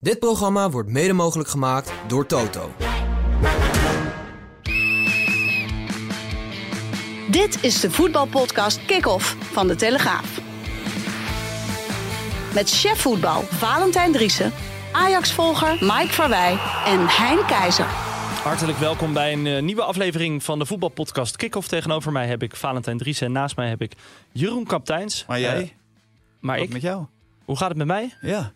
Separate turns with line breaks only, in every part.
Dit programma wordt mede mogelijk gemaakt door Toto.
Dit is de voetbalpodcast Kick-Off van De Telegraaf. Met chef voetbal Valentijn Driessen, Ajax-volger Mike Verwij en Hein Keizer.
Hartelijk welkom bij een eh, nieuwe aflevering van de voetbalpodcast Kick-Off. Tegenover mij heb ik Valentijn Dries en naast mij heb ik Jeroen Kapteins.
Maar jij?
Eh, maar
Wat
ik?
met jou?
Hoe gaat het met mij?
Ja.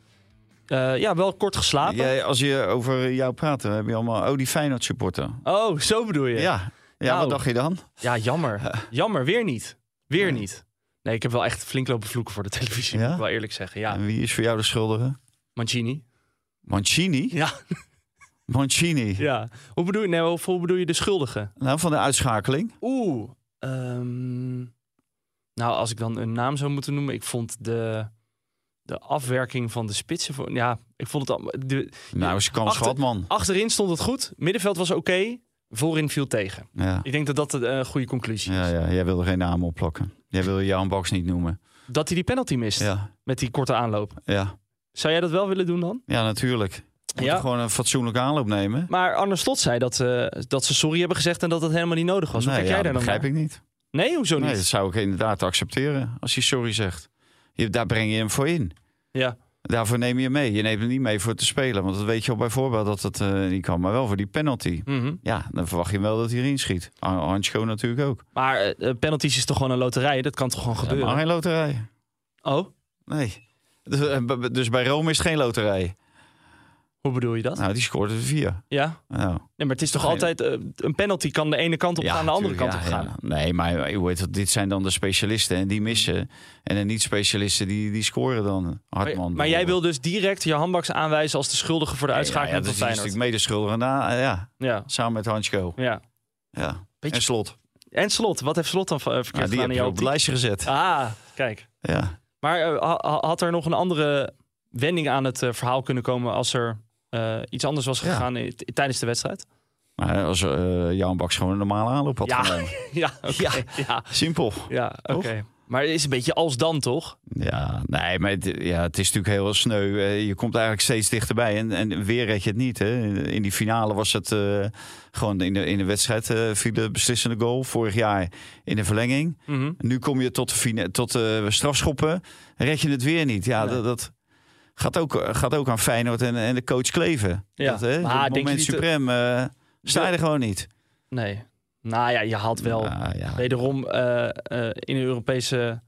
Eh, ja, wel kort geslapen.
Jij, als je over jou praat, dan heb je allemaal... Oh, die Feyenoord supporter.
Oh, zo bedoel je?
Ja. Ja,
Nou.
wat dacht je dan?
Ja, jammer. Jammer, weer niet. Weer niet. Nee, ik heb wel echt flink lopen vloeken voor de televisie,
Ja?
moet ik wel eerlijk zeggen. Ja,
En wie is voor jou de schuldige?
Mancini.
Mancini?
Ja,
Mancini.
ja. Hoe bedoel je, nee, of hoe bedoel je de schuldige?
Nou, van de uitschakeling.
Oeh. ehm, nou, als ik dan een naam zou moeten noemen, ik vond de, de afwerking van de spitsen. Voor, ja, ik vond het al. De,
Nou, is kans
Achter-
gehad, man.
achterin stond het goed, middenveld was oké, voorin viel tegen.
Ja.
Ik denk dat dat een eh, goede conclusie is.
Ja, ja, jij wilde geen naam opplakken. Jij wilde jouw box niet noemen.
Dat hij die penalty mist
Ja,
met die korte aanloop.
ja.
Zou jij dat wel willen doen dan?
ja natuurlijk. Je moet
Ja.
er gewoon een fatsoenlijke aanloop nemen.
Maar Arne Slot zei dat, eh, dat ze sorry hebben gezegd en dat dat helemaal niet nodig was. Hoe
Nee,
kijk
ja,
jij daar
dat
dan
begrijp
naar?
ik niet.
Nee, hoezo
Nee,
niet?
dat zou ik inderdaad accepteren als hij sorry zegt. Je, daar breng je hem voor in.
Ja.
Daarvoor neem je hem mee. Je neemt hem niet mee voor te spelen. Want dat weet je al bij voorbeeld dat het eh, niet kan. Maar wel voor die penalty.
Mhm.
Ja, dan verwacht je wel dat hij erin schiet. An- Hansko natuurlijk ook.
Maar eh, penalties is toch gewoon een loterij? Dat kan toch gewoon gebeuren?
Maar geen loterij.
oh,
Nee. Dus, eh, b- b- dus bij Rome is het geen loterij.
hoe bedoel je dat?
Nou, die scoort er vier.
Ja.
Nou,
Nee, maar het is toch
Nee.
altijd... eh, een penalty kan de ene kant op gaan, de andere
natuurlijk,
kant op
ja,
gaan.
ja. Nee, maar eh, hoe heet dat? dit zijn dan de specialisten en die missen. En de niet-specialisten die, die scoren dan. Hartman.
Maar, maar jij wil dus direct je handbaks aanwijzen als de schuldige voor de
uitschaken.
uitschakeling
dat is
van
natuurlijk
Feyenoord.
medeschuldig. Nou, ja,
Ja,
samen met Hansko.
ja.
Ja.
Beetje-
En slot.
En Slot, wat heeft Slot dan eh, verkeerd
Ja, die
gedaan
heb
in
je
jouw
op het
optiek?
lijstje gezet.
Ah, kijk.
Ja.
Maar eh, ha- ha- had er nog een andere wending aan het eh, verhaal kunnen komen als er eh, iets anders was
Ja.
gegaan in- t- tijdens de wedstrijd?
Maar als eh Jan Baks gewoon een normale aanloop had
Ja.
genomen.
Ja, oké. Ja, ja,
Simpel.
oké. Maar het is een beetje als dan, toch?
Ja, nee, maar het, ja, het is natuurlijk heel sneu. Eh, Je komt eigenlijk steeds dichterbij en, en weer red je het niet. Hè. In die finale was het eh, gewoon in de, in de wedstrijd eh, viel de beslissende goal. Vorig jaar in de verlenging.
Mhm.
Nu kom je tot de, fina- tot de strafschoppen. Red je het weer niet. Ja,
Nee.
dat, dat gaat, ook, gaat ook aan Feyenoord en, en de coach Kleven.
Ja.
Dat, hè,
Maar
dat
denk je
moment
niet dat-
suprem eh, sta je er gewoon niet.
Nee. Nou ja, je haalt wel
Nou, ja.
wederom eh, eh, in een Europese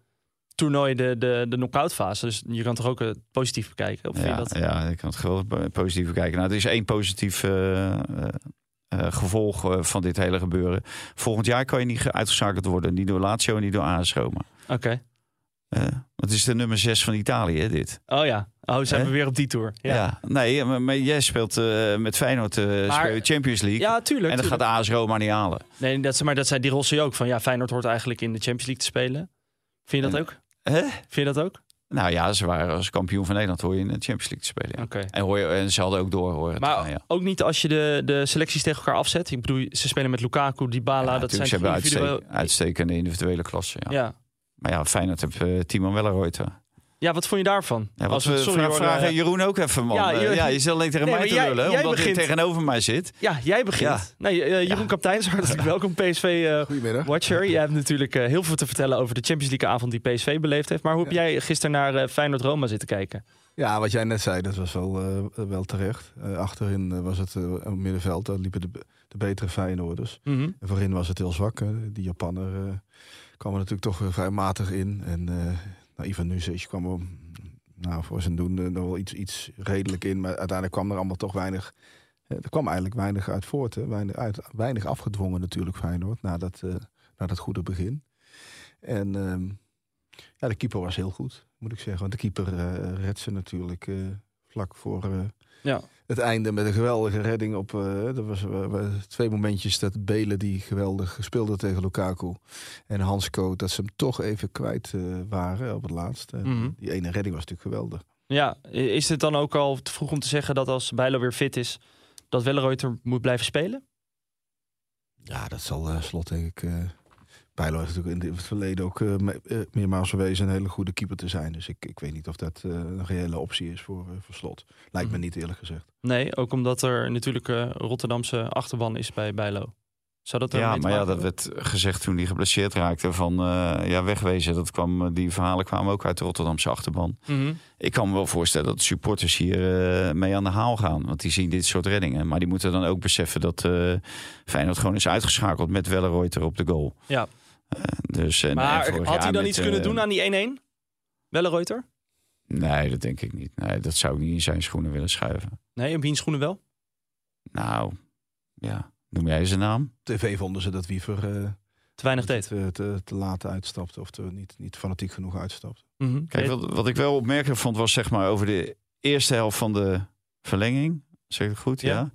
toernooi de, de, de knock-out fase. Dus je kan toch ook eh, positief bekijken? Of vind
Ja,
je dat...
ja, ik kan het geweldig po- positief bekijken. Nou, het is één positief eh, eh, eh, gevolg eh, van dit hele gebeuren. Volgend jaar kan je niet ge- uitgeschakeld worden. Niet door Lazio en niet door AS Roma.
Oké.
Eh, want het is de nummer 6 van Italië, hè, dit.
Oh ja. Oh, zijn
Hè?
we weer op die tour.
Ja.
Ja, ja,
Nee, maar, maar jij speelt eh, met Feyenoord eh, speel je Champions League.
tuurlijk.
en dat
tuurlijk.
gaat AS Roma niet halen.
Nee, dat, ze- maar dat zei die Rossi ook. Van ja, Feyenoord hoort eigenlijk in de Champions League te spelen. Vind je dat
En-
ook?
Hè?
Vind je dat ook?
Nou ja, ze waren als kampioen van Nederland hoor je in de Champions League te spelen. ja.
Oké.
En, hoor je, en ze hadden ook door hoor.
Maar
ja.
ook niet als je de, de selecties tegen elkaar afzet. Ik bedoel, ze spelen met Lukaku, Dybala.
Ja,
dat
natuurlijk,
zijn
ze hebben
individueel-
uitstek- uitstekende individuele klassen. Ja.
Ja. Ja.
Maar ja, Feyenoord heeft eh, Timo Welleroyter.
wat vond je daarvan?
Ja, wat we
het- sorry
vraag,
hoor,
vragen
eh,
Jeroen ook even, man.
Ja,
Ja,
Jeroen-
ja, je zit alleen tegen
Nee,
mij
maar
te
jij-
lullen,
jij
omdat
begint.
hij tegenover mij zit.
ja, jij begint. Nee, eh, Jeroen
Ja.
Kapteins, hartelijk welkom. PSV-watcher. eh, Jij hebt natuurlijk eh, heel veel te vertellen over de Champions League-avond die PSV beleefd heeft. Maar hoe heb jij gisteren naar eh, Feyenoord-Roma zitten kijken?
Ja, wat jij net zei, dat was wel, eh, wel terecht. Eh, achterin eh, was het eh, op middenveld, daar liepen de, be- de betere Feyenoorders.
Mhm.
En voorin was het heel zwak. eh, die Japaner eh, kwam er natuurlijk toch eh, vrij matig in. En eh nou, Ivan Nusic kwam er nou, voor zijn doen eh, nog wel iets, iets redelijk in. Maar uiteindelijk kwam er allemaal toch weinig... eh, er kwam eigenlijk weinig uit voort. Hè? Weinig, uit, weinig afgedwongen natuurlijk Feyenoord, na dat, eh, na dat goede begin. En... ehm, ja, de keeper was heel goed, moet ik zeggen. Want de keeper eh redt ze natuurlijk eh, vlak voor eh,
Ja.
het einde met een geweldige redding op. eh er was eh, twee momentjes dat Belen die geweldig speelde tegen Lukaku en Hansko dat ze hem toch even kwijt eh, waren op het laatst. En
Mhm.
Die ene redding was natuurlijk geweldig.
Ja, i- is het dan ook al te vroeg om te zeggen dat als Bijlo weer fit is, dat Welleroyter moet blijven spelen?
Ja, dat zal eh, slot denk ik. eh Bijlo heeft natuurlijk in het verleden ook eh, me- eh, meermaals bewezen een hele goede keeper te zijn. Dus ik, ik weet niet of dat eh, een reële optie is voor, eh, voor slot. Lijkt me
Mhm.
niet eerlijk gezegd.
Nee, ook omdat er natuurlijk eh Rotterdamse achterban is bij Bijlo. Zou dat er
Ja,
mee te
maar ja,
maken
dat
hebben?
werd gezegd toen hij geblesseerd raakte van eh, ja, wegwezen. Dat kwam, eh, die verhalen kwamen ook uit de Rotterdamse achterban.
Mhm.
Ik kan me wel voorstellen dat supporters hier eh, mee aan de haal gaan. Want die zien dit soort reddingen. Maar die moeten dan ook beseffen dat eh Feyenoord gewoon is uitgeschakeld met Welleroyter op de goal.
Ja.
Eh, dus, en, en
Maar
vorig
had hij
jaar
dan
met,
iets kunnen
eh,
doen aan die 1-1? Welleroyter?
Nee, dat denk ik niet. Nee, dat zou ik niet in zijn schoenen willen schuiven.
Nee, in wiens schoenen wel?
Nou, ja. Noem jij zijn naam?
TV vonden ze dat Wiever eh,
Te weinig
dat
deed.
het, eh, te, te laat uitstapte of te, niet, niet fanatiek genoeg uitstapte.
Mhm.
Kijk, wat, wat ik wel opmerkelijk vond was zeg maar over de eerste helft van de verlenging. Zeg ik het goed, ja.
Ja.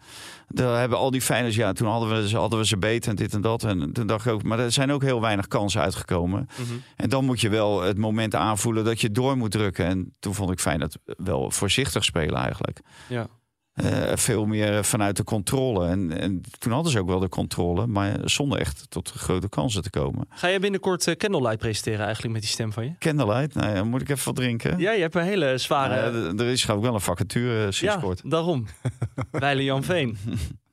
Daar hebben al die fijners, ja, toen hadden we, ze, hadden we ze beter en dit en dat. En toen dacht ik ook, maar er zijn ook heel weinig kansen uitgekomen.
Mhm.
En dan moet je wel het moment aanvoelen dat je door moet drukken. En toen vond ik fijn dat wel voorzichtig spelen eigenlijk.
Ja.
Eh, veel meer vanuit de controle. En, en toen hadden ze ook wel de controle, maar zonder echt tot grote kansen te komen.
Ga jij binnenkort eh, Candlelight presenteren eigenlijk met die stem van je?
Candlelight, nou ja, moet ik even wat drinken?
Ja, je hebt een hele zware...
Nou ja, d- er is geloof ik wel een vacature eh, sinds
ja,
kort.
daarom. Wijlen Jan Veen.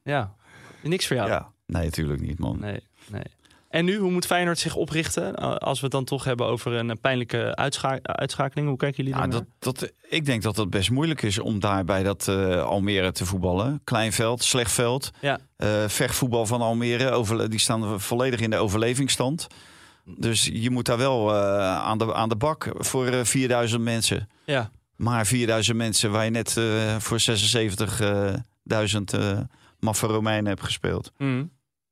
Ja, niks voor jou.
Nee, natuurlijk niet, man.
Nee, nee. En nu, hoe moet Feyenoord zich oprichten? Eh, Als we het dan toch hebben over een eh, pijnlijke uitscha- uitschakeling. Hoe kijken jullie
Ja,
daarnaar?
dat, dat, ik denk dat dat best moeilijk is om daar bij dat eh, Almere te voetballen. Klein veld, slecht veld.
Ja.
Eh, vechtvoetbal van Almere, overle- die staan volledig in de overlevingsstand. Dus je moet daar wel eh, aan, de, aan de bak voor eh, 4000 mensen.
Ja.
Maar 4000 mensen waar je net eh, voor 76.000 eh maffe Romeinen hebt gespeeld.
Mhm.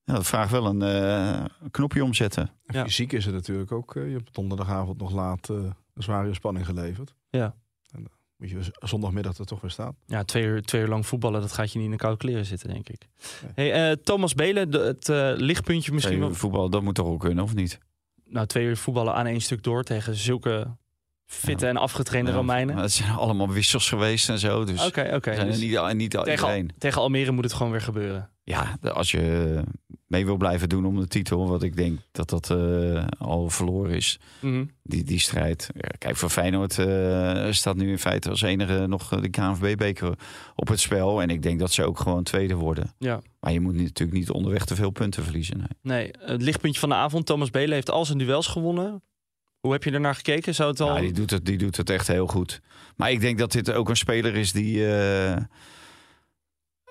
Ja, dat vraagt wel een eh, knopje omzetten.
En
Ja.
Fysiek is het natuurlijk ook. eh, je hebt donderdagavond nog laat eh, een zware spanning geleverd.
Ja.
En dan moet je z- zondagmiddag er toch weer staan.
Ja, twee uur, twee uur lang voetballen, dat gaat je niet in de koude kleren zitten, denk ik.
Nee.
Hey, eh, Thomas Belen, de- het eh, lichtpuntje misschien
Hey,
wel.
voetbal, dat moet toch ook kunnen, of niet?
Nou, twee uur voetballen aan één stuk door tegen zulke fitte
Ja.
en afgetrainde
Ja,
Romeinen. Oké,
maar het zijn allemaal wissels geweest en zo. Dus
oké.
zijn er
dus
niet, niet
tegen,
iedereen.
tegen Almere moet het gewoon weer gebeuren.
Ja, de- als je eh, mee wil blijven doen om de titel, wat ik denk dat dat eh, al verloren is,
Mhm.
die, die strijd. Ja, Kijk, voor Feyenoord eh, staat nu in feite als enige nog eh, de KNVB-beker op het spel. En ik denk dat ze ook gewoon tweede worden.
Ja.
Maar je moet niet- natuurlijk niet onderweg te veel punten verliezen. nee.
Nee, het lichtpuntje van de avond. Thomas Belen heeft al zijn duels gewonnen. Hoe heb je ernaar gekeken? Zou het al...
Ja, Nou, die, doet het, die doet het echt heel goed. Maar ik denk dat dit ook een speler is die eh,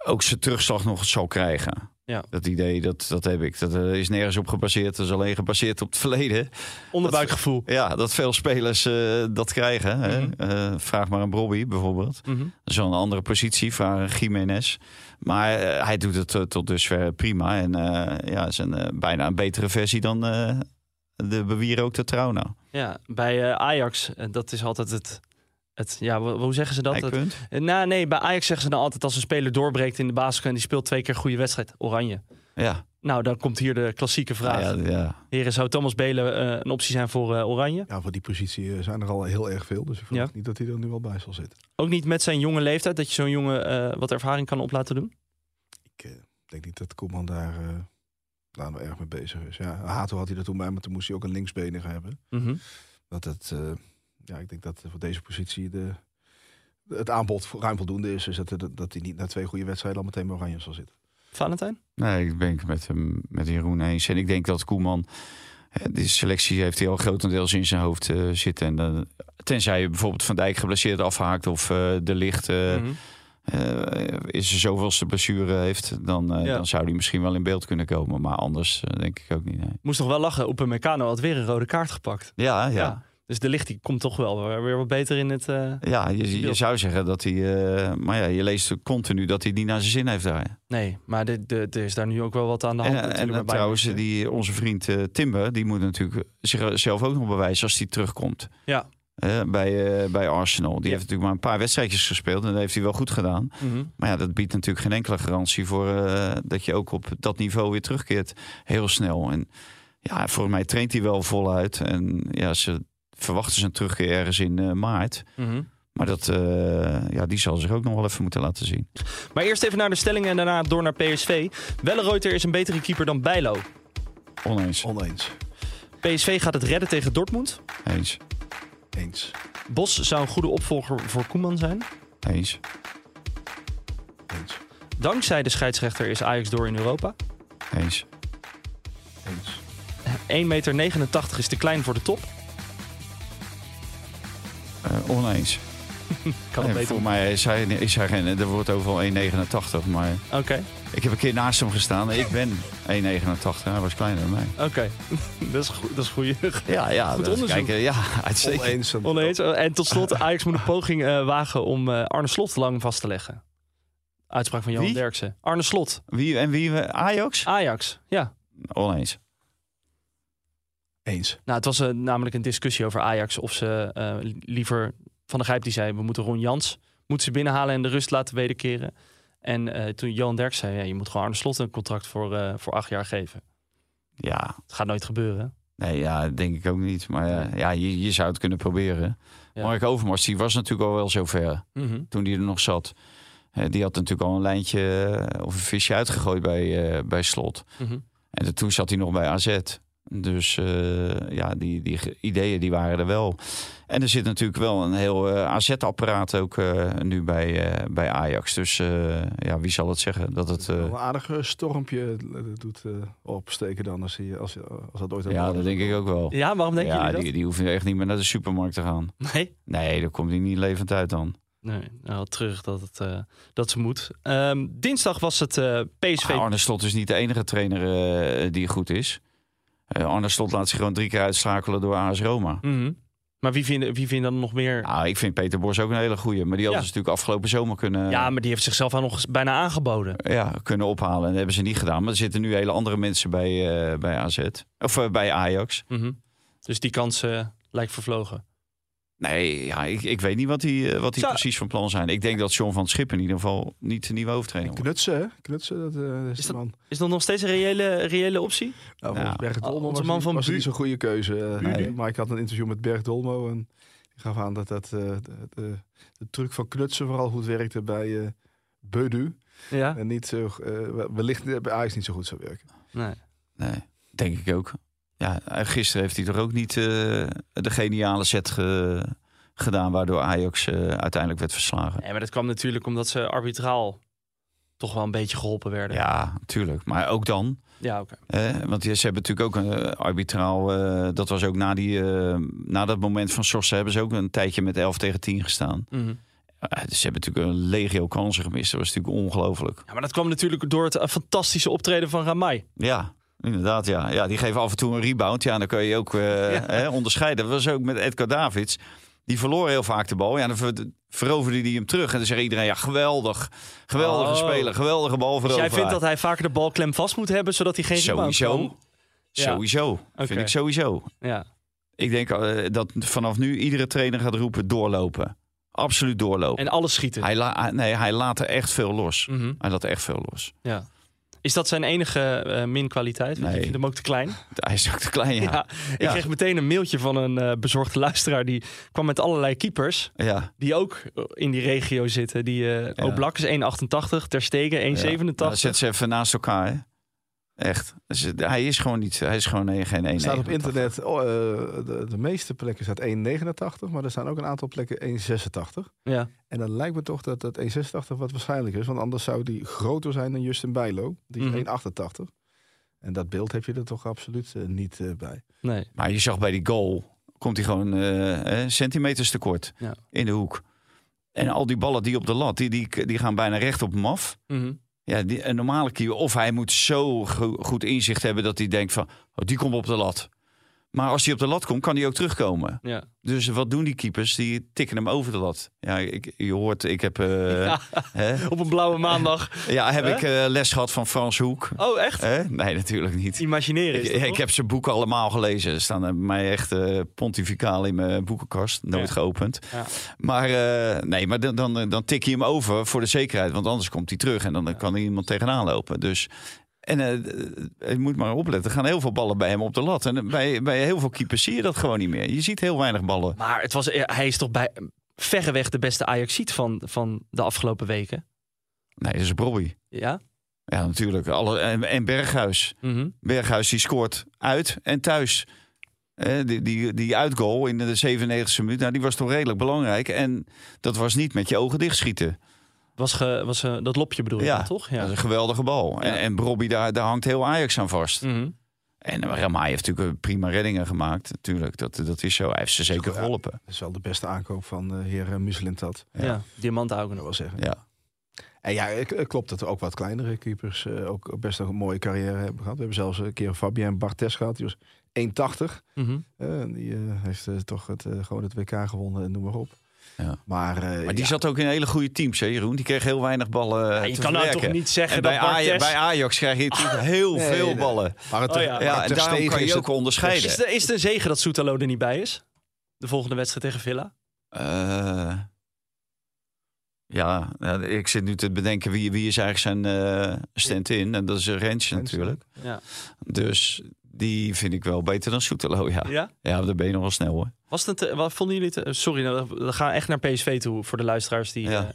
ook zijn terugslag nog zal krijgen.
Ja.
Dat idee, dat, dat heb ik. Dat eh, is nergens op gebaseerd. Dat is alleen gebaseerd op het verleden.
onderbuikgevoel?
Ja, dat veel spelers eh, dat krijgen. Hè?
Mhm.
Eh, vraag maar een Bobby bijvoorbeeld.
Mhm.
Zo'n andere positie, vraag een Jiménez. Maar eh, hij doet het eh, tot dusver prima. En eh, ja, is een, eh, bijna een betere versie dan eh, de bewierookte Trauna.
Ja, bij eh, Ajax, eh, dat is altijd het... het ja, wa- hoe zeggen ze dat? Het-
Eikpunt.
eh, nou, nee, bij Ajax zeggen ze dan altijd als een speler doorbreekt in de basis en die speelt twee keer een goede wedstrijd, oranje.
Ja.
Nou, dan komt hier de klassieke vraag.
Ja, ja.
Heren, zou Thomas Belen eh, een optie zijn voor eh, oranje?
Ja, voor die positie eh, zijn er al heel erg veel. Dus ik verwacht
Ja.
niet dat hij er nu al bij zal zitten.
Ook niet met zijn jonge leeftijd, dat je zo'n jongen eh, wat ervaring kan op laten doen?
Ik eh, denk niet dat Koeman daar, eh, daar nou erg mee bezig is. Ja, Hato had hij er toen bij, maar toen moest hij ook een linksbenige hebben.
Mhm.
Dat het, eh, ja, ik denk dat voor deze positie de, het aanbod voor- ruim voldoende is. Dus dat, dat, dat hij niet na twee goede wedstrijden al meteen bij Oranje zal zitten.
Valentijn?
Nee, ik ben het met, hem, met Jeroen eens. En ik denk dat Koeman, eh, die selectie heeft hij al grotendeels in zijn hoofd eh, zitten. En, dan- tenzij je bijvoorbeeld Van Dijk geblesseerd afhaakt of eh, de licht eh,
Mhm.
eh, is er zoveelste blessure heeft, dan, eh,
Ja.
dan zou hij misschien wel in beeld kunnen komen. Maar anders eh, denk ik ook niet. nee.
Moest nog wel lachen, Upamecano had weer een rode kaart gepakt.
Ja, ja.
Ja.
ja.
Dus de licht die komt toch wel weer, weer wat beter in het. eh,
je, je zou zeggen dat hij... eh, maar ja, je leest continu dat hij het niet naar zijn zin heeft daar.
Nee, maar de, de, er is daar nu ook wel wat aan de hand.
En, en,
natuurlijk
en eh,
bij
trouwens,
Bayern.
eh, die, onze vriend eh, Timber, die moet natuurlijk zichzelf ook nog bewijzen als hij terugkomt.
Ja.
eh, bij, eh, bij Arsenal. Die
Ja.
heeft natuurlijk maar een paar wedstrijdjes gespeeld en dat heeft hij wel goed gedaan.
Mhm.
Maar ja, dat biedt natuurlijk geen enkele garantie voor eh, dat je ook op dat niveau weer terugkeert. Heel snel. En ja, volgens mij traint hij wel voluit. En ja, ze verwachten zijn terugkeer ergens in eh, maart.
Mhm.
Maar dat, eh, ja, die zal zich ook nog wel even moeten laten zien.
Maar eerst even naar de stellingen en daarna door naar PSV. Welleroyter is een betere keeper dan Bijlo.
Oneens.
Oneens.
PSV gaat het redden tegen Dortmund.
Eens.
Eens.
Bos zou een goede opvolger voor Koeman zijn.
Eens.
Eens.
Dankzij de scheidsrechter is Ajax door in Europa.
Eens.
1,89
Eens.
meter is te klein voor de top.
Eh, oneens.
Kan het
Nee,
beter.
voor mij is hij, is hij geen... Er wordt overal 1,89. Maar
Oké,
ik heb een keer naast hem gestaan. Ik ben 1,89. Hij was kleiner dan mij.
oké. dat is goed. Dat is goeie.
Ja, ja.
Goed
dat-
onderzoek.
kijk, eh, ja, uitstekend.
Oneens. dan-
Oneens. Oh, En tot slot, Ajax moet een poging eh, wagen om eh, Arne Slot lang vast te leggen. Uitspraak van Johan
Wie?
Derksen. Arne Slot,
Wie en wie? eh, Ajax?
Ajax. Ja.
Oneens.
Eens.
Nou, het was eh, namelijk een discussie over Ajax. Of ze eh, li- liever... Van de Gijp die zei, we moeten Ron Jans moeten ze binnenhalen en de rust laten wederkeren. En eh, toen Johan Derksen zei, ja, je moet gewoon Arne Slot een contract voor, eh, voor acht jaar geven.
Ja,
Het gaat nooit gebeuren.
nee, ja, denk ik ook niet. Maar eh, ja, je, je zou het kunnen proberen.
Ja.
Mark Overmars, die was natuurlijk al wel zover toen hij er nog zat. Eh, die had natuurlijk al een lijntje eh, of een visje uitgegooid bij, eh, bij Slot.
Mhm.
En toen zat hij nog bij AZ. Dus eh, ja, die, die ge- ideeën die waren er wel. En er zit natuurlijk wel een heel eh, AZ-apparaat ook eh, nu bij, eh, bij Ajax. Dus eh, ja, wie zal het zeggen dat het... eh,
Wel een aardig eh, stormpje eh, doet eh, opsteken dan als, hij, als, als dat ooit aan de
ja,
orde
dat
is.
denk ik ook wel.
Ja, waarom denken
ja,
jullie dat?
die, die hoeven echt niet meer naar de supermarkt te gaan.
Nee.
Nee, daar komt hij niet levend uit dan.
Nee, nou, terug dat, het, eh, dat ze moet. Ehm, dinsdag was het eh, PSV.
Ah, Arne Slot is niet de enige trainer eh, die goed is. Eh Arne Slot laat zich gewoon drie keer uitschakelen door AS Roma.
Mhm. Maar wie vindt wie vindt dan nog meer? Ja,
Nou, ik vind Peter Bos ook een hele goeie. Maar die hadden
Ja.
ze natuurlijk afgelopen zomer kunnen,
maar die heeft zichzelf al nog eens bijna aangeboden.
ja, kunnen ophalen. En dat hebben ze niet gedaan. Maar er zitten nu hele andere mensen bij, eh, bij AZ. Of eh, bij Ajax.
Mhm. Dus die kans eh, lijkt vervlogen.
Nee, ja, ik, ik weet niet wat die, eh, wat die
Zou-
precies van plan zijn. Ik denk dat John van het Schip in ieder geval niet de nieuwe hoofdtrainer wordt.
Knutsen, hè? Knutsen, dat eh, is,
Is
de man.
Is dat nog steeds een reële, reële optie?
Nou,
Nou,
volgens Berg
Ah, onze
Dolmo was,
man
man
van
van was
Bu-
niet zo'n goede keuze. Eh,
Nee.
Maar Mike had een interview met Berg Dolmo en die gaf aan dat, dat eh, de, de, de truc van knutsen vooral goed werkte bij eh Beudu.
Ja.
En niet zo, eh, wellicht bij Ajax niet zo goed zou werken.
Nee.
Nee, denk ik ook. Ja, eh, gisteren heeft hij toch ook niet eh, de geniale set ge- gedaan... waardoor Ajax eh, uiteindelijk werd verslagen.
nee, maar dat kwam natuurlijk omdat ze arbitraal toch wel een beetje geholpen werden.
Ja, natuurlijk. Maar ook dan.
Ja, oké.
eh, want ze hebben natuurlijk ook een eh, arbitraal... eh, dat was ook na, die, eh, na dat moment van Sossen... hebben ze ook een tijdje met 11 tegen 10 gestaan.
Mhm.
Eh, dus ze hebben natuurlijk een legio kansen gemist. Dat was natuurlijk ongelooflijk.
Ja, maar dat kwam natuurlijk door het eh, fantastische optreden van Ramai.
Ja, inderdaad. Ja. ja, die geven af en toe een rebound. Ja, dan kun je ook eh,
Ja.
hè, onderscheiden. Dat was ook met Edgar Davids. Die verloor heel vaak de bal. Ja, dan ver- veroverde hij hem terug. En dan zegt iedereen, ja, geweldig. Geweldige
Oh.
speler, geweldige bal
Dus jij vindt dat hij vaker de bal klem vast moet hebben, zodat hij geen rebound
Sowieso.
kan? Ja.
Sowieso.
Oké.
Vind ik sowieso.
Ja.
Ik denk eh, dat vanaf nu iedere trainer gaat roepen doorlopen. Absoluut doorlopen.
En alles schieten.
Hij, la- hij- nee, hij laat er echt veel los.
Mhm.
Hij laat echt veel los.
Ja. Is dat zijn enige eh, minkwaliteit? Want
Nee.
Ik vind hem ook te klein.
Hij is ook te klein,
Ja.
ja. ja.
Ik kreeg meteen een mailtje van een eh, bezorgde luisteraar. Die kwam met allerlei keepers. Die ook eh, in die regio zitten. Die eh
Ja.
Oblak is 1,88. Ter Stegen 1,87.
Nou, zet ze even naast elkaar, hè. Echt. Dus, eh, hij is gewoon niet... Hij is gewoon eh, geen
Er
1
staat op internet, oh, eh, de, de meeste plekken staat 1,89, maar er staan ook een aantal plekken 1,86.
ja.
En dan lijkt me toch dat dat 1,86 wat waarschijnlijk is. Want anders zou die groter zijn dan Justin Bijlo. Die is
Mhm.
1,88. En dat beeld heb je er toch absoluut eh, niet eh, bij.
Nee.
Maar je zag bij die goal... Komt hij gewoon eh, eh, centimeters tekort.
Ja.
In de hoek. En al die ballen die op de lat... Die, die, die gaan bijna recht op hem af.
Mhm.
Ja, die, een normale keeper. Of hij moet zo go- goed inzicht hebben dat hij denkt van... oh, die komt op de lat. Maar als hij op de lat komt, kan hij ook terugkomen.
Ja.
Dus wat doen die keepers? Die tikken hem over de lat. Ja, ik, je hoort, ik heb, eh,
Ja.
hè?
Op een blauwe maandag.
Ja, heb
Hè?
ik eh, les gehad van Frans Hoek.
Oh, echt?
Hè? Nee, natuurlijk niet.
Imagineren
Ik,
is dat,
ik
toch?
heb zijn boeken allemaal gelezen. Er staan eh, bij mij echt eh, pontificaal in mijn boekenkast. Nooit
Ja.
geopend.
Ja.
Maar eh, nee, maar dan, dan, dan tik je hem over voor de zekerheid. Want anders komt hij terug en dan kan er iemand tegenaan lopen. Dus... En eh, je moet maar opletten, er gaan heel veel ballen bij hem op de lat. En bij, bij heel veel keepers zie je dat gewoon niet meer. Je ziet heel weinig ballen.
Maar het was, eh, hij is toch bij verreweg de beste Ajaxiet van, van de afgelopen weken.
Nee, dat is Robbie.
Ja?
Ja, natuurlijk. Alle, en, en Berghuis.
Mhm.
Berghuis die scoort uit en thuis. Eh, die, die, die uitgoal in de 97e minuut, nou, die was toch redelijk belangrijk. En dat was niet met je ogen dicht schieten.
Was, ge, was eh, dat lopje bedoel je dan, toch?
dat is een geweldige bal. En, en Robbie, daar, daar hangt heel Ajax aan vast.
Mhm.
En Ramai heeft natuurlijk eh, prima reddingen gemaakt. Natuurlijk, dat, dat is zo. Hij heeft ze zeker
Ja.
geholpen.
Dat is wel de beste aankoop van eh heer Muslintat,
Ja, diamantaugen.
kan ik wel zeggen.
Ja.
En ja, het het klopt dat er ook wat kleinere keepers eh, ook best een mooie carrière hebben gehad. We hebben zelfs een keer Fabien Barthes gehad, die was 1,80.
Mhm.
Eh, en die eh, heeft eh, toch het, eh, gewoon het WK gewonnen en noem maar op.
Ja.
Maar, eh,
Maar die
ja,
zat ook in hele goede teams, hè, Jeroen? Die kreeg heel weinig ballen. eh,
Ja, je
te
kan nou
verwerken.
toch niet zeggen
En bij,
dat Bartes-
Ajax, bij Ajax krijg je natuurlijk heel
Nee,
veel
nee.
ballen.
maar het-
Oh ja.
maar
Ja, en
Ter
daarom
Stegen
kan
is
je ook
het-
onderscheiden.
Is, het- is het een zegen dat Soetalo er niet bij is? De volgende wedstrijd tegen Villa?
Eh, ja, ja, ik zit nu te bedenken wie, wie is eigenlijk zijn eh stand-in. En dat is Rens natuurlijk.
Ja.
Dus die vind ik wel beter dan Soetelo, ja.
Ja?
Ja, daar ben je nog wel snel hoor.
Was het, een te- wat vonden jullie het? eh, Sorry, nou, we gaan echt naar PSV toe voor de luisteraars die.
Ja.
eh,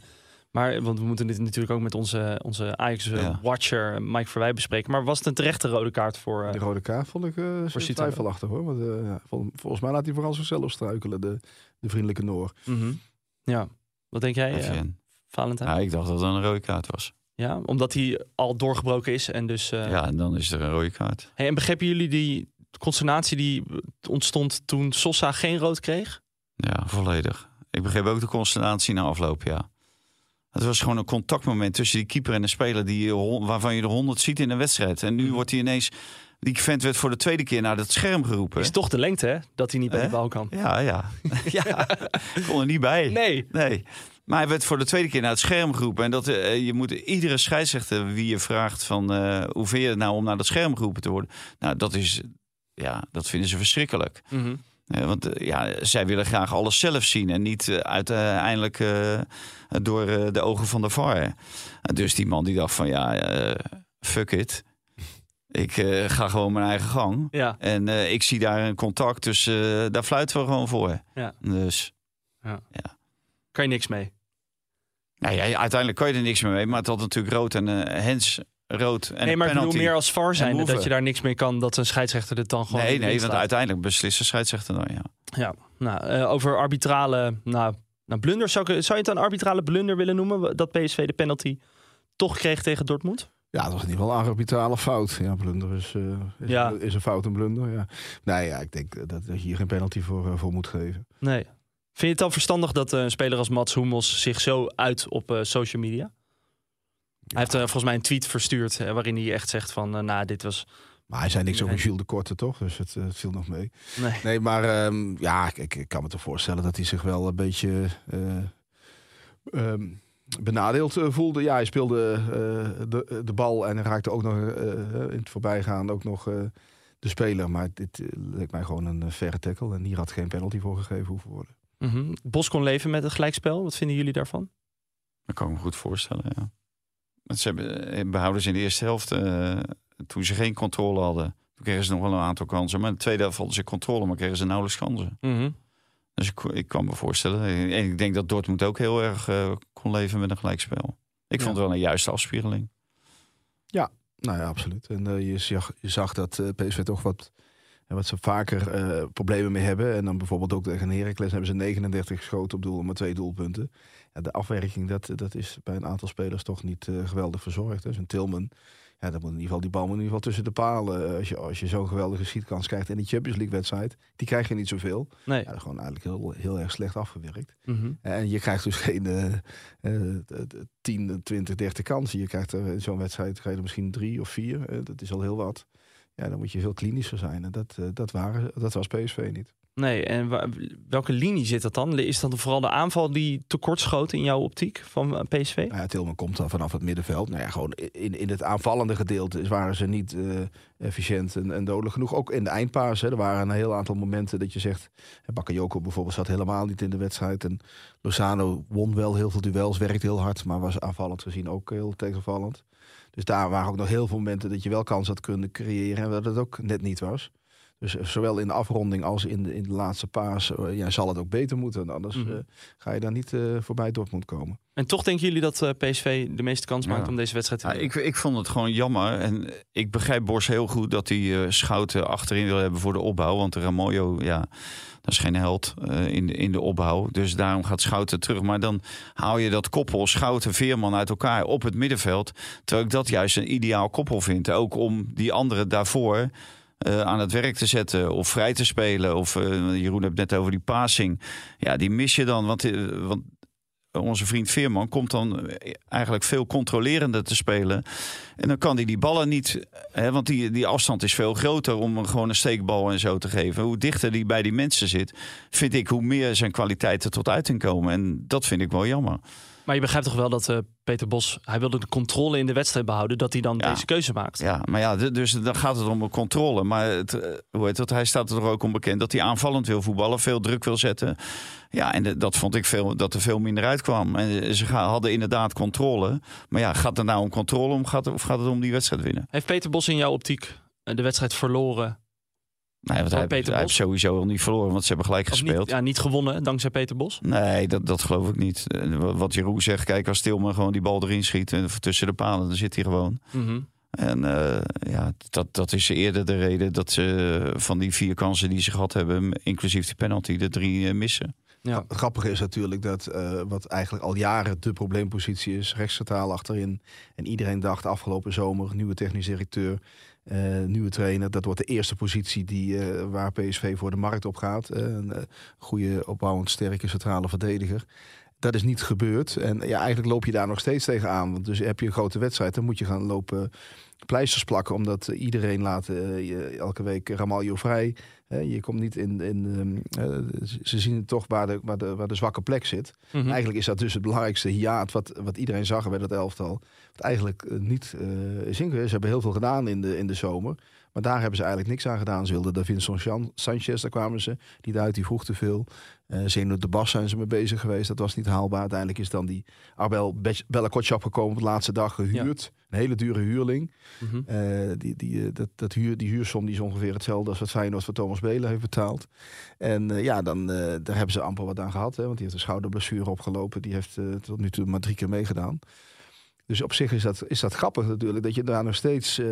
maar, want we moeten dit natuurlijk ook met onze, onze
Ja.
Ajax-watcher eh, Mike Verwij bespreken. Maar was het een terechte rode kaart voor... eh,
De rode kaart vond ik eh zeer
Citado.
twijfelachtig hoor. Want, eh, ja, vol- volgens mij laat hij vooral zichzelf struikelen, de, de vriendelijke Noor.
mhm. Ja, wat denk jij, eh,
Even.
Valentijn?
Ja, ik dacht dat het een rode kaart was.
Ja, omdat hij al doorgebroken is. En, dus, eh,
Ja, en dan is er een rode kaart.
hey, en begrepen jullie die consternatie die ontstond toen Sosa geen rood kreeg?
Ja, volledig. Ik begreep ook de consternatie na afloop, ja. Het was gewoon een contactmoment tussen die keeper en de speler die, je hon- waarvan je er 100 ziet in een wedstrijd. En nu wordt hij ineens... Die vent werd voor de tweede keer naar dat scherm geroepen.
Is toch de lengte, hè? Dat hij niet bij de
Hè?
bal kan.
Ja, ja. ja. Ik kon er niet bij.
Nee.
Nee. Maar hij werd voor de tweede keer naar het scherm geroepen. En dat, eh, je moet iedere scheidsrechter wie je vraagt van... eh, hoe vind je het nou om naar dat scherm geroepen te worden? Nou, dat is... Ja, dat vinden ze verschrikkelijk.
Mhm.
Eh, want eh, ja, zij willen graag alles zelf zien. En niet eh, uiteindelijk eh, door eh, de ogen van de VAR. Eh, dus die man die dacht van ja, eh, fuck it. Ik eh, ga gewoon mijn eigen gang.
Ja.
En eh, ik zie daar een contact, dus eh, daar fluiten we gewoon voor.
Ja.
Dus
Kan je niks mee.
nou ja, uiteindelijk kan je er niks meer mee. Maar het had natuurlijk rood en eh Hens rood en
nee, maar
een
ik bedoel
penalty.
meer als VAR zijn
hoeven.
dat je daar niks mee kan, dat een scheidsrechter het dan gewoon.
nee,
in
nee,
laat.
want uiteindelijk beslist de scheidsrechter dan, ja.
Ja, nou, eh, over arbitrale nou, nou, blunders. Zou, ik- zou je het een arbitrale blunder willen noemen? Dat PSV de penalty toch kreeg tegen Dortmund?
Ja, dat was in ieder geval een arbitrale fout. Ja, blunder is, eh, is,
Ja.
is een fout een blunder. Ja. Nee, ja, ik denk dat, dat je hier geen penalty voor, eh, voor moet geven.
Nee. Vind je het dan verstandig dat eh, een speler als Mats Hummels zich zo uit op eh, social media? Hij heeft eh, volgens mij een tweet verstuurd eh, waarin hij echt zegt van, eh, nou, dit was...
Maar hij zei niks over
Nee.
Jules de Korte, toch? Dus het, eh, het viel nog mee.
Nee.
Nee, maar ehm, ja, ik, ik kan me toch voorstellen dat hij zich wel een beetje eh, ehm, benadeeld eh, voelde. Ja, hij speelde eh, de, de bal en hij raakte ook nog eh, in het voorbijgaan ook nog eh, de speler. Maar dit eh, leek mij gewoon een eh, verre tackle en hier had geen penalty voor gegeven hoeven worden.
Mhm. Bos kon leven met het gelijkspel. Wat vinden jullie daarvan?
Dat kan ik me goed voorstellen, ja. Want ze hebben, eh, behouden ze in de eerste helft, eh, toen ze geen controle hadden... Toen kregen ze nog wel een aantal kansen. Maar in de tweede helft hadden ze controle, maar kregen ze nauwelijks kansen.
Mhm.
Dus ik, ik kan me voorstellen. En ik denk dat Dortmund ook heel erg eh, kon leven met een gelijkspel. Ik
Ja.
vond het wel een juiste afspiegeling.
Nou ja, absoluut. En eh, je, zag, je zag dat eh, PSV toch wat, en wat ze vaker eh, problemen mee hebben. En dan bijvoorbeeld ook tegen Heracles hebben ze 39 geschoten op doel, maar twee doelpunten. Ja, de afwerking, dat, dat is bij een aantal spelers toch niet eh, geweldig verzorgd. Dus een Tilman, ja, dat moet in ieder geval, die bal moet in ieder geval tussen de palen. Eh, als je, als je zo'n geweldige schietkans krijgt in die Champions League wedstrijd, die krijg je niet zoveel.
Nee.
Ja, dat is gewoon eigenlijk heel, heel erg slecht afgewerkt.
Mhm.
En je krijgt dus geen eh, eh, t- t- 10, 20, 30 kansen. Je krijgt er in zo'n wedstrijd krijg je er misschien drie of vier. Eh, dat is Eh, al heel wat. Ja, dan moet je veel klinischer zijn. En dat, eh, dat, waren, dat was PSV niet.
Nee, en wa- welke linie zit dat dan? Is dat vooral de aanval die tekortschoot in jouw optiek van eh, PSV?
Nou ja, Tilman komt dan vanaf het middenveld. Nou ja, gewoon in, in het aanvallende gedeelte waren ze niet eh, efficiënt en, en dodelijk genoeg. Ook in de eindpaas. Hè, er waren een heel aantal momenten dat je zegt... eh, Bakayoko bijvoorbeeld zat helemaal niet in de wedstrijd. En Lozano won wel heel veel duels, werkte heel hard... maar was aanvallend gezien ook heel tegenvallend. Dus daar waren ook nog heel veel momenten dat je wel kans had kunnen creëren... en dat het ook net niet was. Dus eh, zowel in de afronding als in de, in de laatste paas eh, ja, zal het ook beter moeten. Anders
Mhm.
eh, ga je daar niet eh, voorbij Dortmund komen.
En toch denken jullie dat eh, PSV de meeste kans
Ja.
maakt om deze wedstrijd te
Ja,
winnen?
ik, ik vond het gewoon jammer. En ik begrijp Bos heel goed dat hij eh, Schouten achterin wil hebben voor de opbouw. Want Ramoyo, ja, dat is geen held eh, in, de, in de opbouw. Dus daarom gaat Schouten terug. Maar dan haal je dat koppel Schouten-Veerman uit elkaar op het middenveld. Terwijl ik dat juist een ideaal koppel vind. Ook om die anderen daarvoor eh, aan het werk te zetten of vrij te spelen. Of eh, Jeroen heeft het net over die passing. Ja, die mis je dan. Want, eh, want eh, onze vriend Veerman komt dan eh, eigenlijk veel controlerender te spelen. En dan kan hij die ballen niet, hè, want die, die afstand is veel groter om hem gewoon een steekbal en zo te geven. Hoe dichter hij bij die mensen zit, vind ik hoe meer zijn kwaliteiten tot uiting komen. En dat vind ik wel jammer.
Maar je begrijpt toch wel dat eh, Peter Bos, hij wilde de controle in de wedstrijd behouden, dat hij dan
Ja.
deze keuze maakt.
Ja, maar ja, d- dus dan gaat het om de controle. Maar het, eh, hoe heet dat? Hij staat er toch ook onbekend dat hij aanvallend wil voetballen, veel druk wil zetten. Ja, en de- dat vond ik veel, dat er veel minder uitkwam. En eh, ze ga- hadden inderdaad controle. Maar ja, gaat het nou om controle om, gaat, of gaat het om die wedstrijd winnen?
Heeft Peter Bos in jouw optiek eh, de wedstrijd verloren?
Nee, want hij,
Peter
hij heeft
Bos?
sowieso al niet verloren, want ze hebben gelijk
Of
gespeeld.
niet, ja, niet gewonnen dankzij Peter Bos?
Nee, dat, dat geloof ik niet. Eh, wa- Wat Jeroen zegt, kijk, als Tilman gewoon die bal erin schiet en tussen de palen, dan zit hij gewoon.
Mhm.
En eh, ja, dat, dat is eerder de reden dat ze eh, van die vier kansen die ze gehad hebben, inclusief die penalty, de drie eh, missen.
Ja.
Het grappige is natuurlijk dat eh, wat eigenlijk al jaren de probleempositie is, rechtscentraal achterin. En iedereen dacht afgelopen zomer, nieuwe technisch directeur, eh, nieuwe trainer. Dat wordt de eerste positie die, eh, waar PSV voor de markt op gaat. Eh, een eh, goede opbouwend sterke centrale verdediger. Dat is niet gebeurd. En ja, eigenlijk loop je daar nog steeds tegenaan. Want dus heb je een grote wedstrijd, dan moet je gaan lopen pleisters plakken. Omdat eh, iedereen laat eh, je- elke week Ramaljo vrij. Hè, je komt niet in. in ehm, eh, ze- ze zien toch waar de, waar, de, waar de zwakke plek zit.
Mhm.
Eigenlijk is dat dus het belangrijkste hiaat wat, wat iedereen zag bij dat elftal. Wat eigenlijk eh, niet eh is ingewezen. Ze hebben heel veel gedaan in de, in de zomer. Maar daar hebben ze eigenlijk niks aan gedaan. Ze wilden Davinson Chan- Sanchez, daar kwamen ze niet uit. Die vroeg te veel. Eh Zeno de Bas zijn ze mee bezig geweest. Dat was niet haalbaar. Uiteindelijk is dan die Arbel Be- Bellakotschap gekomen op de laatste dag. Gehuurd. Een hele dure huurling.
Mhm.
Eh, die, die, eh, dat, dat huur, die huursom die is ongeveer hetzelfde als wat Feyenoord voor Thomas Belen heeft betaald. En eh, ja, dan, eh, daar hebben ze amper wat aan gehad. Hè, want die heeft een schouderblessure opgelopen. Die heeft eh, tot nu toe maar drie keer meegedaan. Dus op zich is dat, is dat grappig natuurlijk. Dat je daar nog steeds eh,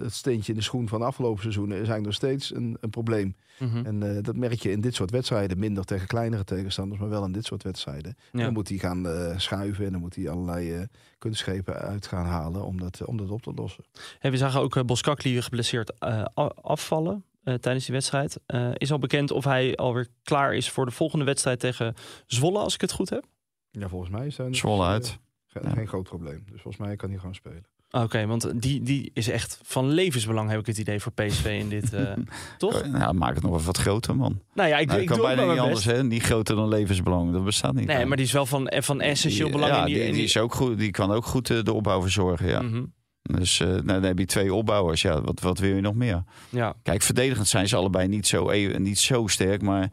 het steentje in de schoen van de afgelopen seizoenen is eigenlijk nog steeds een, een probleem.
Mhm.
En eh, dat merk je in dit soort wedstrijden. Minder tegen kleinere tegenstanders, maar wel in dit soort wedstrijden. En
Ja.
Dan moet hij gaan eh, schuiven en dan moet hij allerlei eh, kunstschepen uit gaan halen om dat, om dat op te lossen.
Hey, we zagen ook eh, Boskakli geblesseerd eh, a- afvallen eh, tijdens die wedstrijd. Eh, is al bekend of hij alweer klaar is voor de volgende wedstrijd tegen Zwolle, als ik het goed heb?
Ja, volgens mij is dat
Zwolle uit. Ja.
eh, geen groot probleem. Dus volgens mij kan hij gewoon spelen.
Ah, Oké, want die, die is echt van levensbelang, heb ik het idee, voor PSV in dit. eh, toch?
Nou, maak het nog even wat groter, man.
Nou ja, ik,
Nou,
ik
dat
doe
kan
ook maar
bijna niet
mijn
anders,
best.
hè? Niet groter dan levensbelang, dat bestaat niet.
Nee, maar die is wel van, eh, van essentieel belang
Ja,
in die...
die,
in
die is ook goed, die kan ook goed eh, de opbouw verzorgen, ja.
Mhm.
Dus eh, nou, dan heb je twee opbouwers, ja. Wat, wat wil je nog meer?
ja.
Kijk, verdedigend zijn ze allebei niet zo, even- niet zo sterk, maar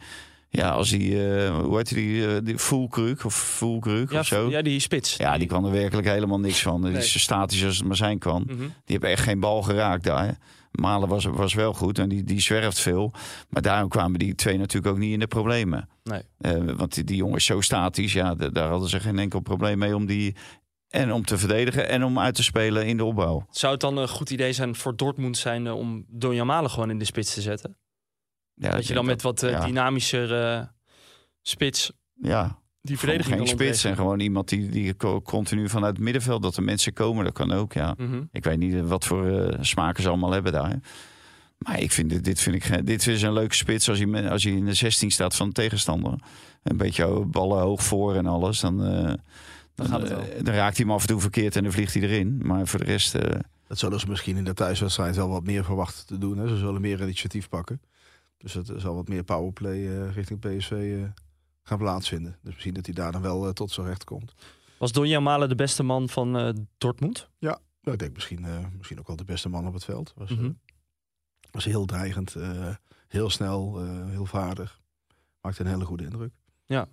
ja, als die, eh, hoe heet die, eh, die Fulkruk of Fulkruk
Ja,
of zo.
ja, die spits.
Ja, die kwam er werkelijk helemaal niks van. Die
Nee.
is zo statisch als het maar zijn kan.
Mhm.
Die hebben echt geen bal geraakt daar. Malen was, was wel goed en die, die zwerft veel. Maar daarom kwamen die twee natuurlijk ook niet in de problemen.
Nee.
Eh, want die, die jongen is zo statisch. Ja, da- daar hadden ze geen enkel probleem mee om die... En om te verdedigen en om uit te spelen in de opbouw.
Zou het dan een goed idee zijn voor Dortmund zijn eh, om Donjamalen gewoon in de spits te zetten?
Ja,
dat je dan met wat eh,
ja.
dynamischer eh, spits
Ja,
die
gewoon
verdediging
geen
kan
spits en
ontregelen.
gewoon iemand die, die co- continu vanuit het middenveld... dat er mensen komen, dat kan ook, ja.
Mhm.
Ik weet niet eh, wat voor eh, smaken ze allemaal hebben daar. Maar ik vind dit, dit, vind ik, geen- dit is een leuke spits als je, me- als je in de 16 staat van de tegenstander. Een beetje ho- ballen hoog voor en alles. Dan, eh, dan,
gaat het wel.
eh, dan raakt hij hem af en toe verkeerd en dan vliegt hij erin. Maar voor de rest eh,
Dat zullen ze misschien in de thuiswedstrijd wel wat meer verwachten te doen. Hè. Ze zullen meer initiatief pakken. Dus het zal wat meer powerplay eh, richting PSV eh, gaan plaatsvinden. Dus misschien dat hij daar dan wel eh, tot zijn recht komt.
Was Donjan Malen de beste man van eh, Dortmund?
Nou, ik denk misschien, eh, misschien ook wel de beste man op het veld. Was, eh,
Mhm.
was heel dreigend, eh, heel snel, eh, heel vaardig. Maakte een hele goede indruk.
Ja.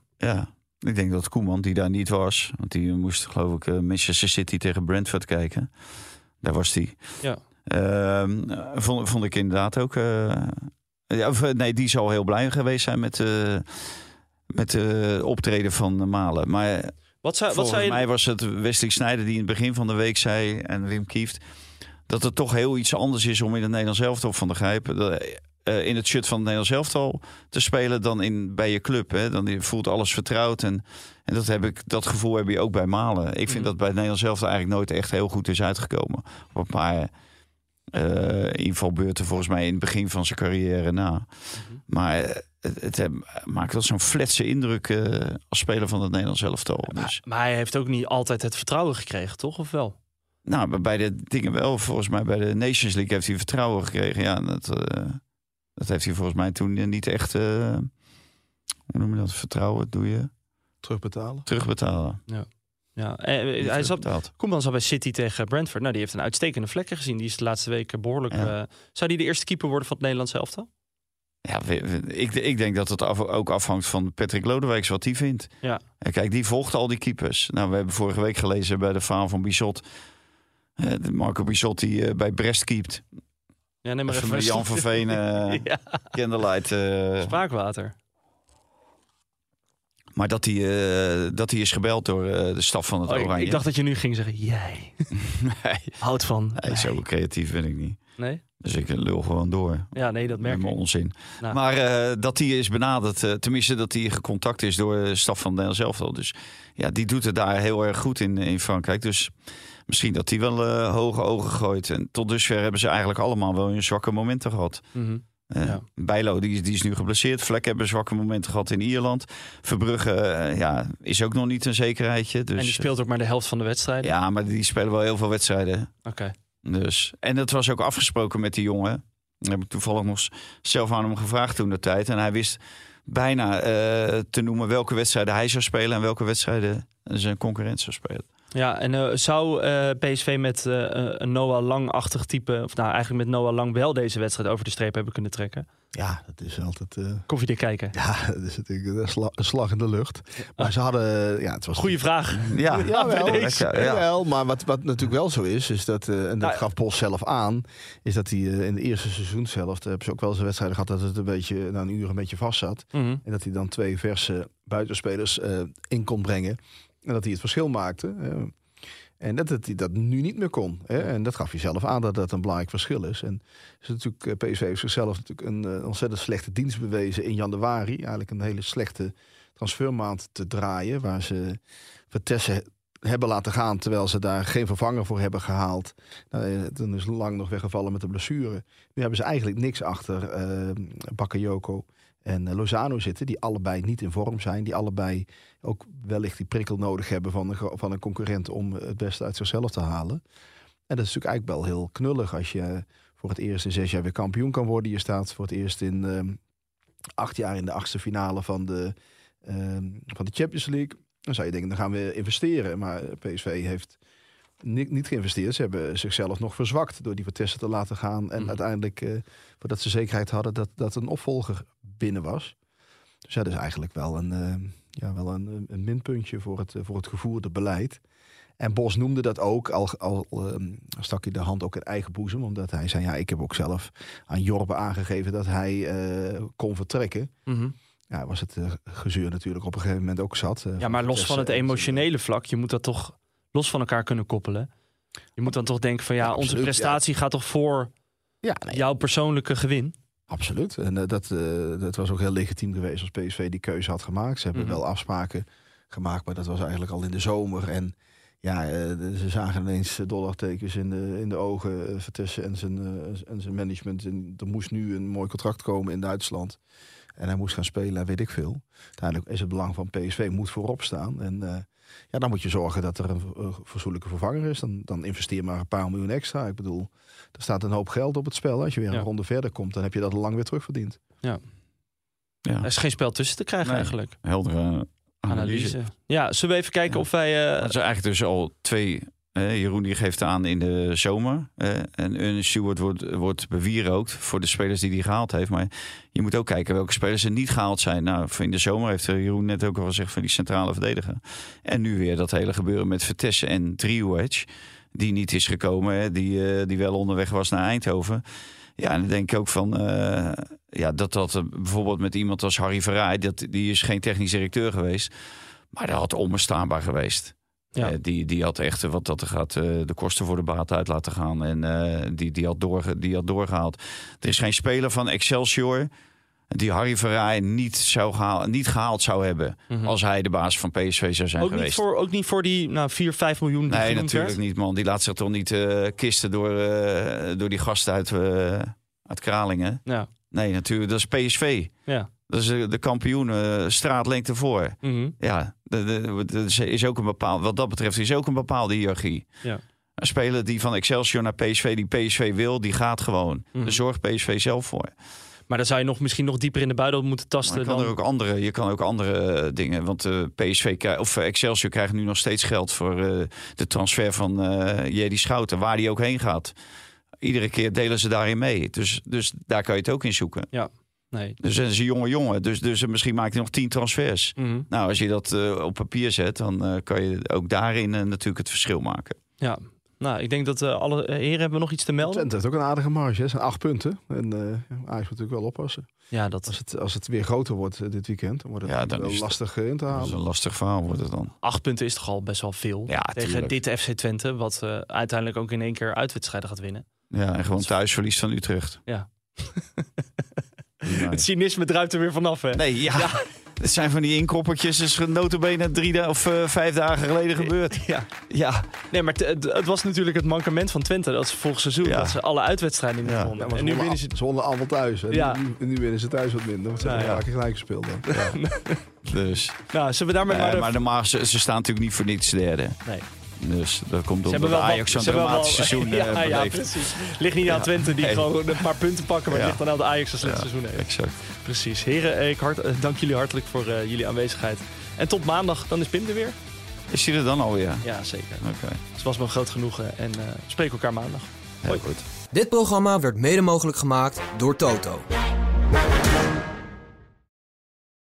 Ik denk dat Koeman, die daar niet was, want die moest geloof ik eh, Manchester City tegen Brentford kijken. Daar was die.
Ja.
Ehm, vond, vond ik inderdaad ook. eh, ja, of, eh, nee, die zal heel blij geweest zijn met, eh met eh, optreden van Malen. Maar
Wat zou, wat
Volgens
zou je...
mij was het Wesley Sneijder die in het begin van de week zei... en Wim Kieft, dat het toch heel iets anders is om in het Nederlands elftal van de Grijp... de- eh, in het shirt van het Nederlands elftal te spelen dan in, bij je club. Hè? Dan je voelt alles vertrouwd. En, en dat, heb ik, dat gevoel heb je ook bij Malen. Ik
Mhm.
vind dat bij het Nederlands elftal eigenlijk nooit echt heel goed is uitgekomen. Op een paar eh, invalbeurten volgens mij in het begin van zijn carrière na.
Mhm.
Maar eh, het, het heb- maakt wel zo'n fletse indruk eh, als speler van het Nederlands elftal. Dus-
Maar, maar hij heeft ook niet altijd het vertrouwen gekregen, toch? Of wel?
Nou, bij- bij de dingen wel. Volgens mij bij de Nations League heeft hij vertrouwen gekregen. Ja, en dat, eh, dat heeft hij volgens mij toen niet echt... eh, hoe noem je dat? Vertrouwen doe je?
Terugbetalen.
Terugbetalen.
Ja, eh,
Niet
hij zat,
terugbetaald.
Koeman zat bij City tegen Brentford. Nou, die heeft een uitstekende vlekken gezien. Die is de laatste weken behoorlijk...
Ja.
eh, zou die de eerste keeper worden van het Nederlands elftal?
Ja, we- we- ik, ik denk dat het af- ook afhangt van Patrick Lodewijks wat hij vindt.
Ja.
En Kijk, die volgt al die keepers. Nou, we hebben vorige week gelezen bij de faal van Bizot. eh, de Marco Bizot die eh, bij Brest keept.
Ja, neem maar
Even
even...
met Jan van Veen, eh
ja,
Candlelight. eh,
spraakwater.
Maar dat hij, eh, dat hij is gebeld door eh, de staf van het
Oh, ik,
Oranje.
ik dacht dat je nu ging zeggen, jij
nee,
houdt van...
nee, zo creatief ben ik niet.
Nee?
Dus ik lul gewoon door.
Ja, nee, dat merk
Met mijn
ik.
onzin.
Nou.
Maar eh, dat hij is benaderd, eh, tenminste dat hij gecontact is door de staf van Den zelf al. Dus ja, die doet het daar heel erg goed in, in Frankrijk. Dus misschien dat hij wel eh, hoge ogen gooit. En tot dusver hebben ze eigenlijk allemaal wel hun zwakke momenten gehad.
Mhm.
Eh,
Ja.
Bijlo die, is- die is nu geblesseerd. Vlek hebben zwakke momenten gehad in Ierland. Verbrugge eh, ja, is ook nog niet een zekerheidje. Dus,
en die speelt ook maar de helft van de wedstrijden.
Ja, maar die spelen wel heel veel wedstrijden.
Oké.
Dus. En dat was ook afgesproken met die jongen. Dat heb ik toevallig nog zelf aan hem gevraagd toen de tijd. En hij wist bijna eh, te noemen welke wedstrijden hij zou spelen... en welke wedstrijden zijn concurrent zou spelen.
Ja, en eh, zou eh, PSV met eh, een Noah Lang-achtig type... of nou, eigenlijk met Noah Lang wel deze wedstrijd over de streep hebben kunnen trekken?
Ja, dat is altijd... eh,
Koffiedik kijken.
ja, dat is natuurlijk een, sla- een slag in de lucht. Maar ze hadden... Ja, het was
Goeie vraag.
Ja,
Jawel,
bij deze.
ja, jawel, maar wat, wat natuurlijk wel zo is, is dat, eh, en dat
Nou,
gaf Pols zelf aan, is dat hij eh, in de eerste seizoenshelft, eh, hebben ze ook wel eens wedstrijden gehad dat het een beetje, na een uur een beetje vast zat.
Mhm.
En dat hij dan twee verse buitenspelers eh, in kon brengen. En dat hij het verschil maakte. hè. en dat, dat hij dat nu niet meer kon. Hè. En dat gaf hij zelf aan dat dat een belangrijk verschil is. En is natuurlijk, eh, PSV heeft zichzelf natuurlijk een eh, ontzettend slechte dienst bewezen in januari. Eigenlijk een hele slechte transfermaand te draaien. Waar ze Vitesse hebben laten gaan terwijl ze daar geen vervanger voor hebben gehaald. Nou, eh, toen is Lang nog weggevallen met de blessure. Nu hebben ze eigenlijk niks achter eh Bakayoko en eh, Lozano zitten, die allebei niet in vorm zijn, die allebei ook wellicht die prikkel nodig hebben van een, gro- van een concurrent om het beste uit zichzelf te halen. En dat is natuurlijk eigenlijk wel heel knullig als je voor het eerst in zes jaar weer kampioen kan worden. Je staat voor het eerst in ehm, acht jaar in de achtste finale van de, ehm, van de Champions League. Dan zou je denken, dan gaan we investeren. Maar eh, PSV heeft niet, niet geïnvesteerd. Ze hebben zichzelf nog verzwakt door die Vitesse te laten gaan. En
Mhm.
uiteindelijk, eh, voordat ze zekerheid hadden dat, dat een opvolger binnen was. Dus ja, dat is eigenlijk wel een, eh, ja, wel een, een minpuntje voor het, eh, voor het gevoerde beleid. En Bos noemde dat ook, al, al ehm, stak hij de hand ook in eigen boezem. Omdat hij zei, ja, ik heb ook zelf aan Jorbe aangegeven dat hij eh, kon vertrekken.
Mhm.
Ja, was het eh, gezeur natuurlijk op een gegeven moment ook zat. eh,
Ja, maar los van het
Vitesse en-
emotionele vlak, je moet dat toch los van elkaar kunnen koppelen. Je moet dan toch denken van ja,
Ja,
onze
absoluut,
prestatie gaat toch voor
Ja, nee,
jouw persoonlijke gewin.
Absoluut. En eh, dat, eh, dat was ook heel legitiem geweest als PSV die keuze had gemaakt. Ze hebben
Mhm.
wel afspraken gemaakt, maar dat was eigenlijk al in de zomer. En ja, eh, de- ze zagen ineens eh, dollartekens in de, in de ogen eh, Vitesse en zijn, eh, en zijn management. En er moest nu een mooi contract komen in Duitsland. En hij moest gaan spelen, en weet ik veel. Uiteindelijk is het belang van PSV moet voorop staan. En eh, Ja, dan moet je zorgen dat er een v- een fatsoenlijke vervanger is. Dan, dan investeer maar een paar miljoen extra. Ik bedoel, er staat een hoop geld op het spel. Als je weer een
Ja.
ronde verder komt, dan heb je dat al lang weer terugverdiend.
Er
Ja,
is geen spel tussen te krijgen
Nee.
eigenlijk.
heldere analyse.
Analyse. Ja, zullen we even kijken
Ja.
of wij... eh,
Dat is eigenlijk dus al twee. eh, Jeroen die geeft aan in de zomer. eh, en een Stewart wordt, wordt bewierookt voor de spelers die hij gehaald heeft. Maar je moet ook kijken welke spelers er niet gehaald zijn. Nou, in de zomer heeft eh, Jeroen net ook al gezegd van die centrale verdediger. En nu weer dat hele gebeuren met Vitesse en Driewedge. Die niet is gekomen, hè, die, eh, die wel onderweg was naar Eindhoven. Ja, en dan denk ik ook van... eh, ja, dat dat eh, bijvoorbeeld met iemand als Harry Verraai... Dat, die is geen technisch directeur geweest. Maar dat had onbestaanbaar geweest.
ja.
Eh, die, die had echt, eh, wat dat er gaat, eh, de kosten voor de baat uit laten gaan. En eh, die, die, had doorge, die had doorgehaald. Er is geen speler van Excelsior die Harry Verraai niet, zou gehaald, niet gehaald zou hebben.
Mhm.
Als hij de baas van PSV zou zijn
ook,
geweest.
niet voor, ook niet voor die nou, 4, 5 miljoen die
nee,
genoemd
natuurlijk
werd?
niet, man. Die laat zich toch niet eh, kisten door, eh, door die gasten uit, eh, uit Kralingen.
Ja.
Nee, natuurlijk. Dat is PSV.
Ja.
Dat is eh, de kampioen eh, straatlengte voor.
Mhm.
Ja, de- de- de- er is ook een bepaalde, wat dat betreft is ook een bepaalde hiërarchie.
Ja.
Een speler die van Excelsior naar PSV, die PSV wil, die gaat gewoon.
Mhm.
Daar zorgt PSV zelf voor.
Maar dan zou je nog, misschien nog dieper in de buidel moeten
Maar je
tasten.
kan,
Dan...
er ook andere, je kan ook andere eh, dingen. Want eh, PSV krijg- of eh, Excelsior krijgt nu nog steeds geld voor eh, de transfer van eh Jedi Schouten, waar die ook heen gaat. Iedere keer delen ze daarin mee. Dus, dus daar kan je het ook in zoeken.
Nee.
Dus dat is een jonge jongen. Dus, dus misschien maakt hij nog tien transfers.
Mhm.
Nou, als je dat eh, op papier zet, dan eh, kan je ook daarin eh, natuurlijk het verschil maken.
Ja. Nou, ik denk dat eh, alle eh, heren hebben nog iets te melden.
Twente heeft ook een aardige marge. hè. Het zijn acht punten. En eh Ajax moet natuurlijk wel oppassen.
Ja, dat
Als het, als het weer groter wordt eh, dit weekend, dan wordt het
Ja, dan
wel
is het-
lastig eh, in te
Dat is
halen.
een lastig verhaal wordt het dan.
acht punten is toch al best wel veel.
Ja,
tegen
tuurlijk.
dit FC Twente, wat eh, uiteindelijk ook in één keer uitwedstrijden gaat winnen.
Ja, en gewoon thuisverlies van Utrecht.
Ja.
Nee.
Het cynisme druipt er weer vanaf, hè?
Nee, ja. Het zijn van die inkoppertjes. Het is notabene drie da- of eh, vijf dagen geleden gebeurd.
Ja.
Ja,
Nee, maar t- het- het was natuurlijk het mankement van Twente. Dat ze vorig seizoen
Ja.
dat ze alle uitwedstrijden niet
Ja.
gewonnen.
Ja, maar
en
ze
nu
wonnen
winnen ze...
al- ze wonnen allemaal thuis. En
Ja.
nu, nu winnen ze thuis wat minder. Want ze
Nou,
hebben
ja.
vaak gelijk gespeeld dan.
dus.
Nou, zullen we daarmee
Eh,
maar... de-
maar normaal, ze, ze staan natuurlijk niet voor niets derde.
Nee.
Dus dat komt
Ze
omdat
hebben wel
Ajax zo'n
wat- ze hebben wel-
dramatisch seizoen eh,
ja, ja,
beleeft.
precies. Ligt niet aan Twente die
Nee.
gewoon een paar punten pakken, maar het
Ja.
ligt aan dat Ajax een slecht
Ja.
seizoen heeft.
Exact.
Precies. Heren, eh, ik hart, eh, dank jullie hartelijk voor eh, jullie aanwezigheid. En tot maandag, dan is Pim er weer.
Is hij er dan alweer?
Ja, zeker.
Oké,
Het was me een groot genoegen en eh spreek elkaar maandag.
heel goed.
Dit programma werd mede mogelijk gemaakt door Toto.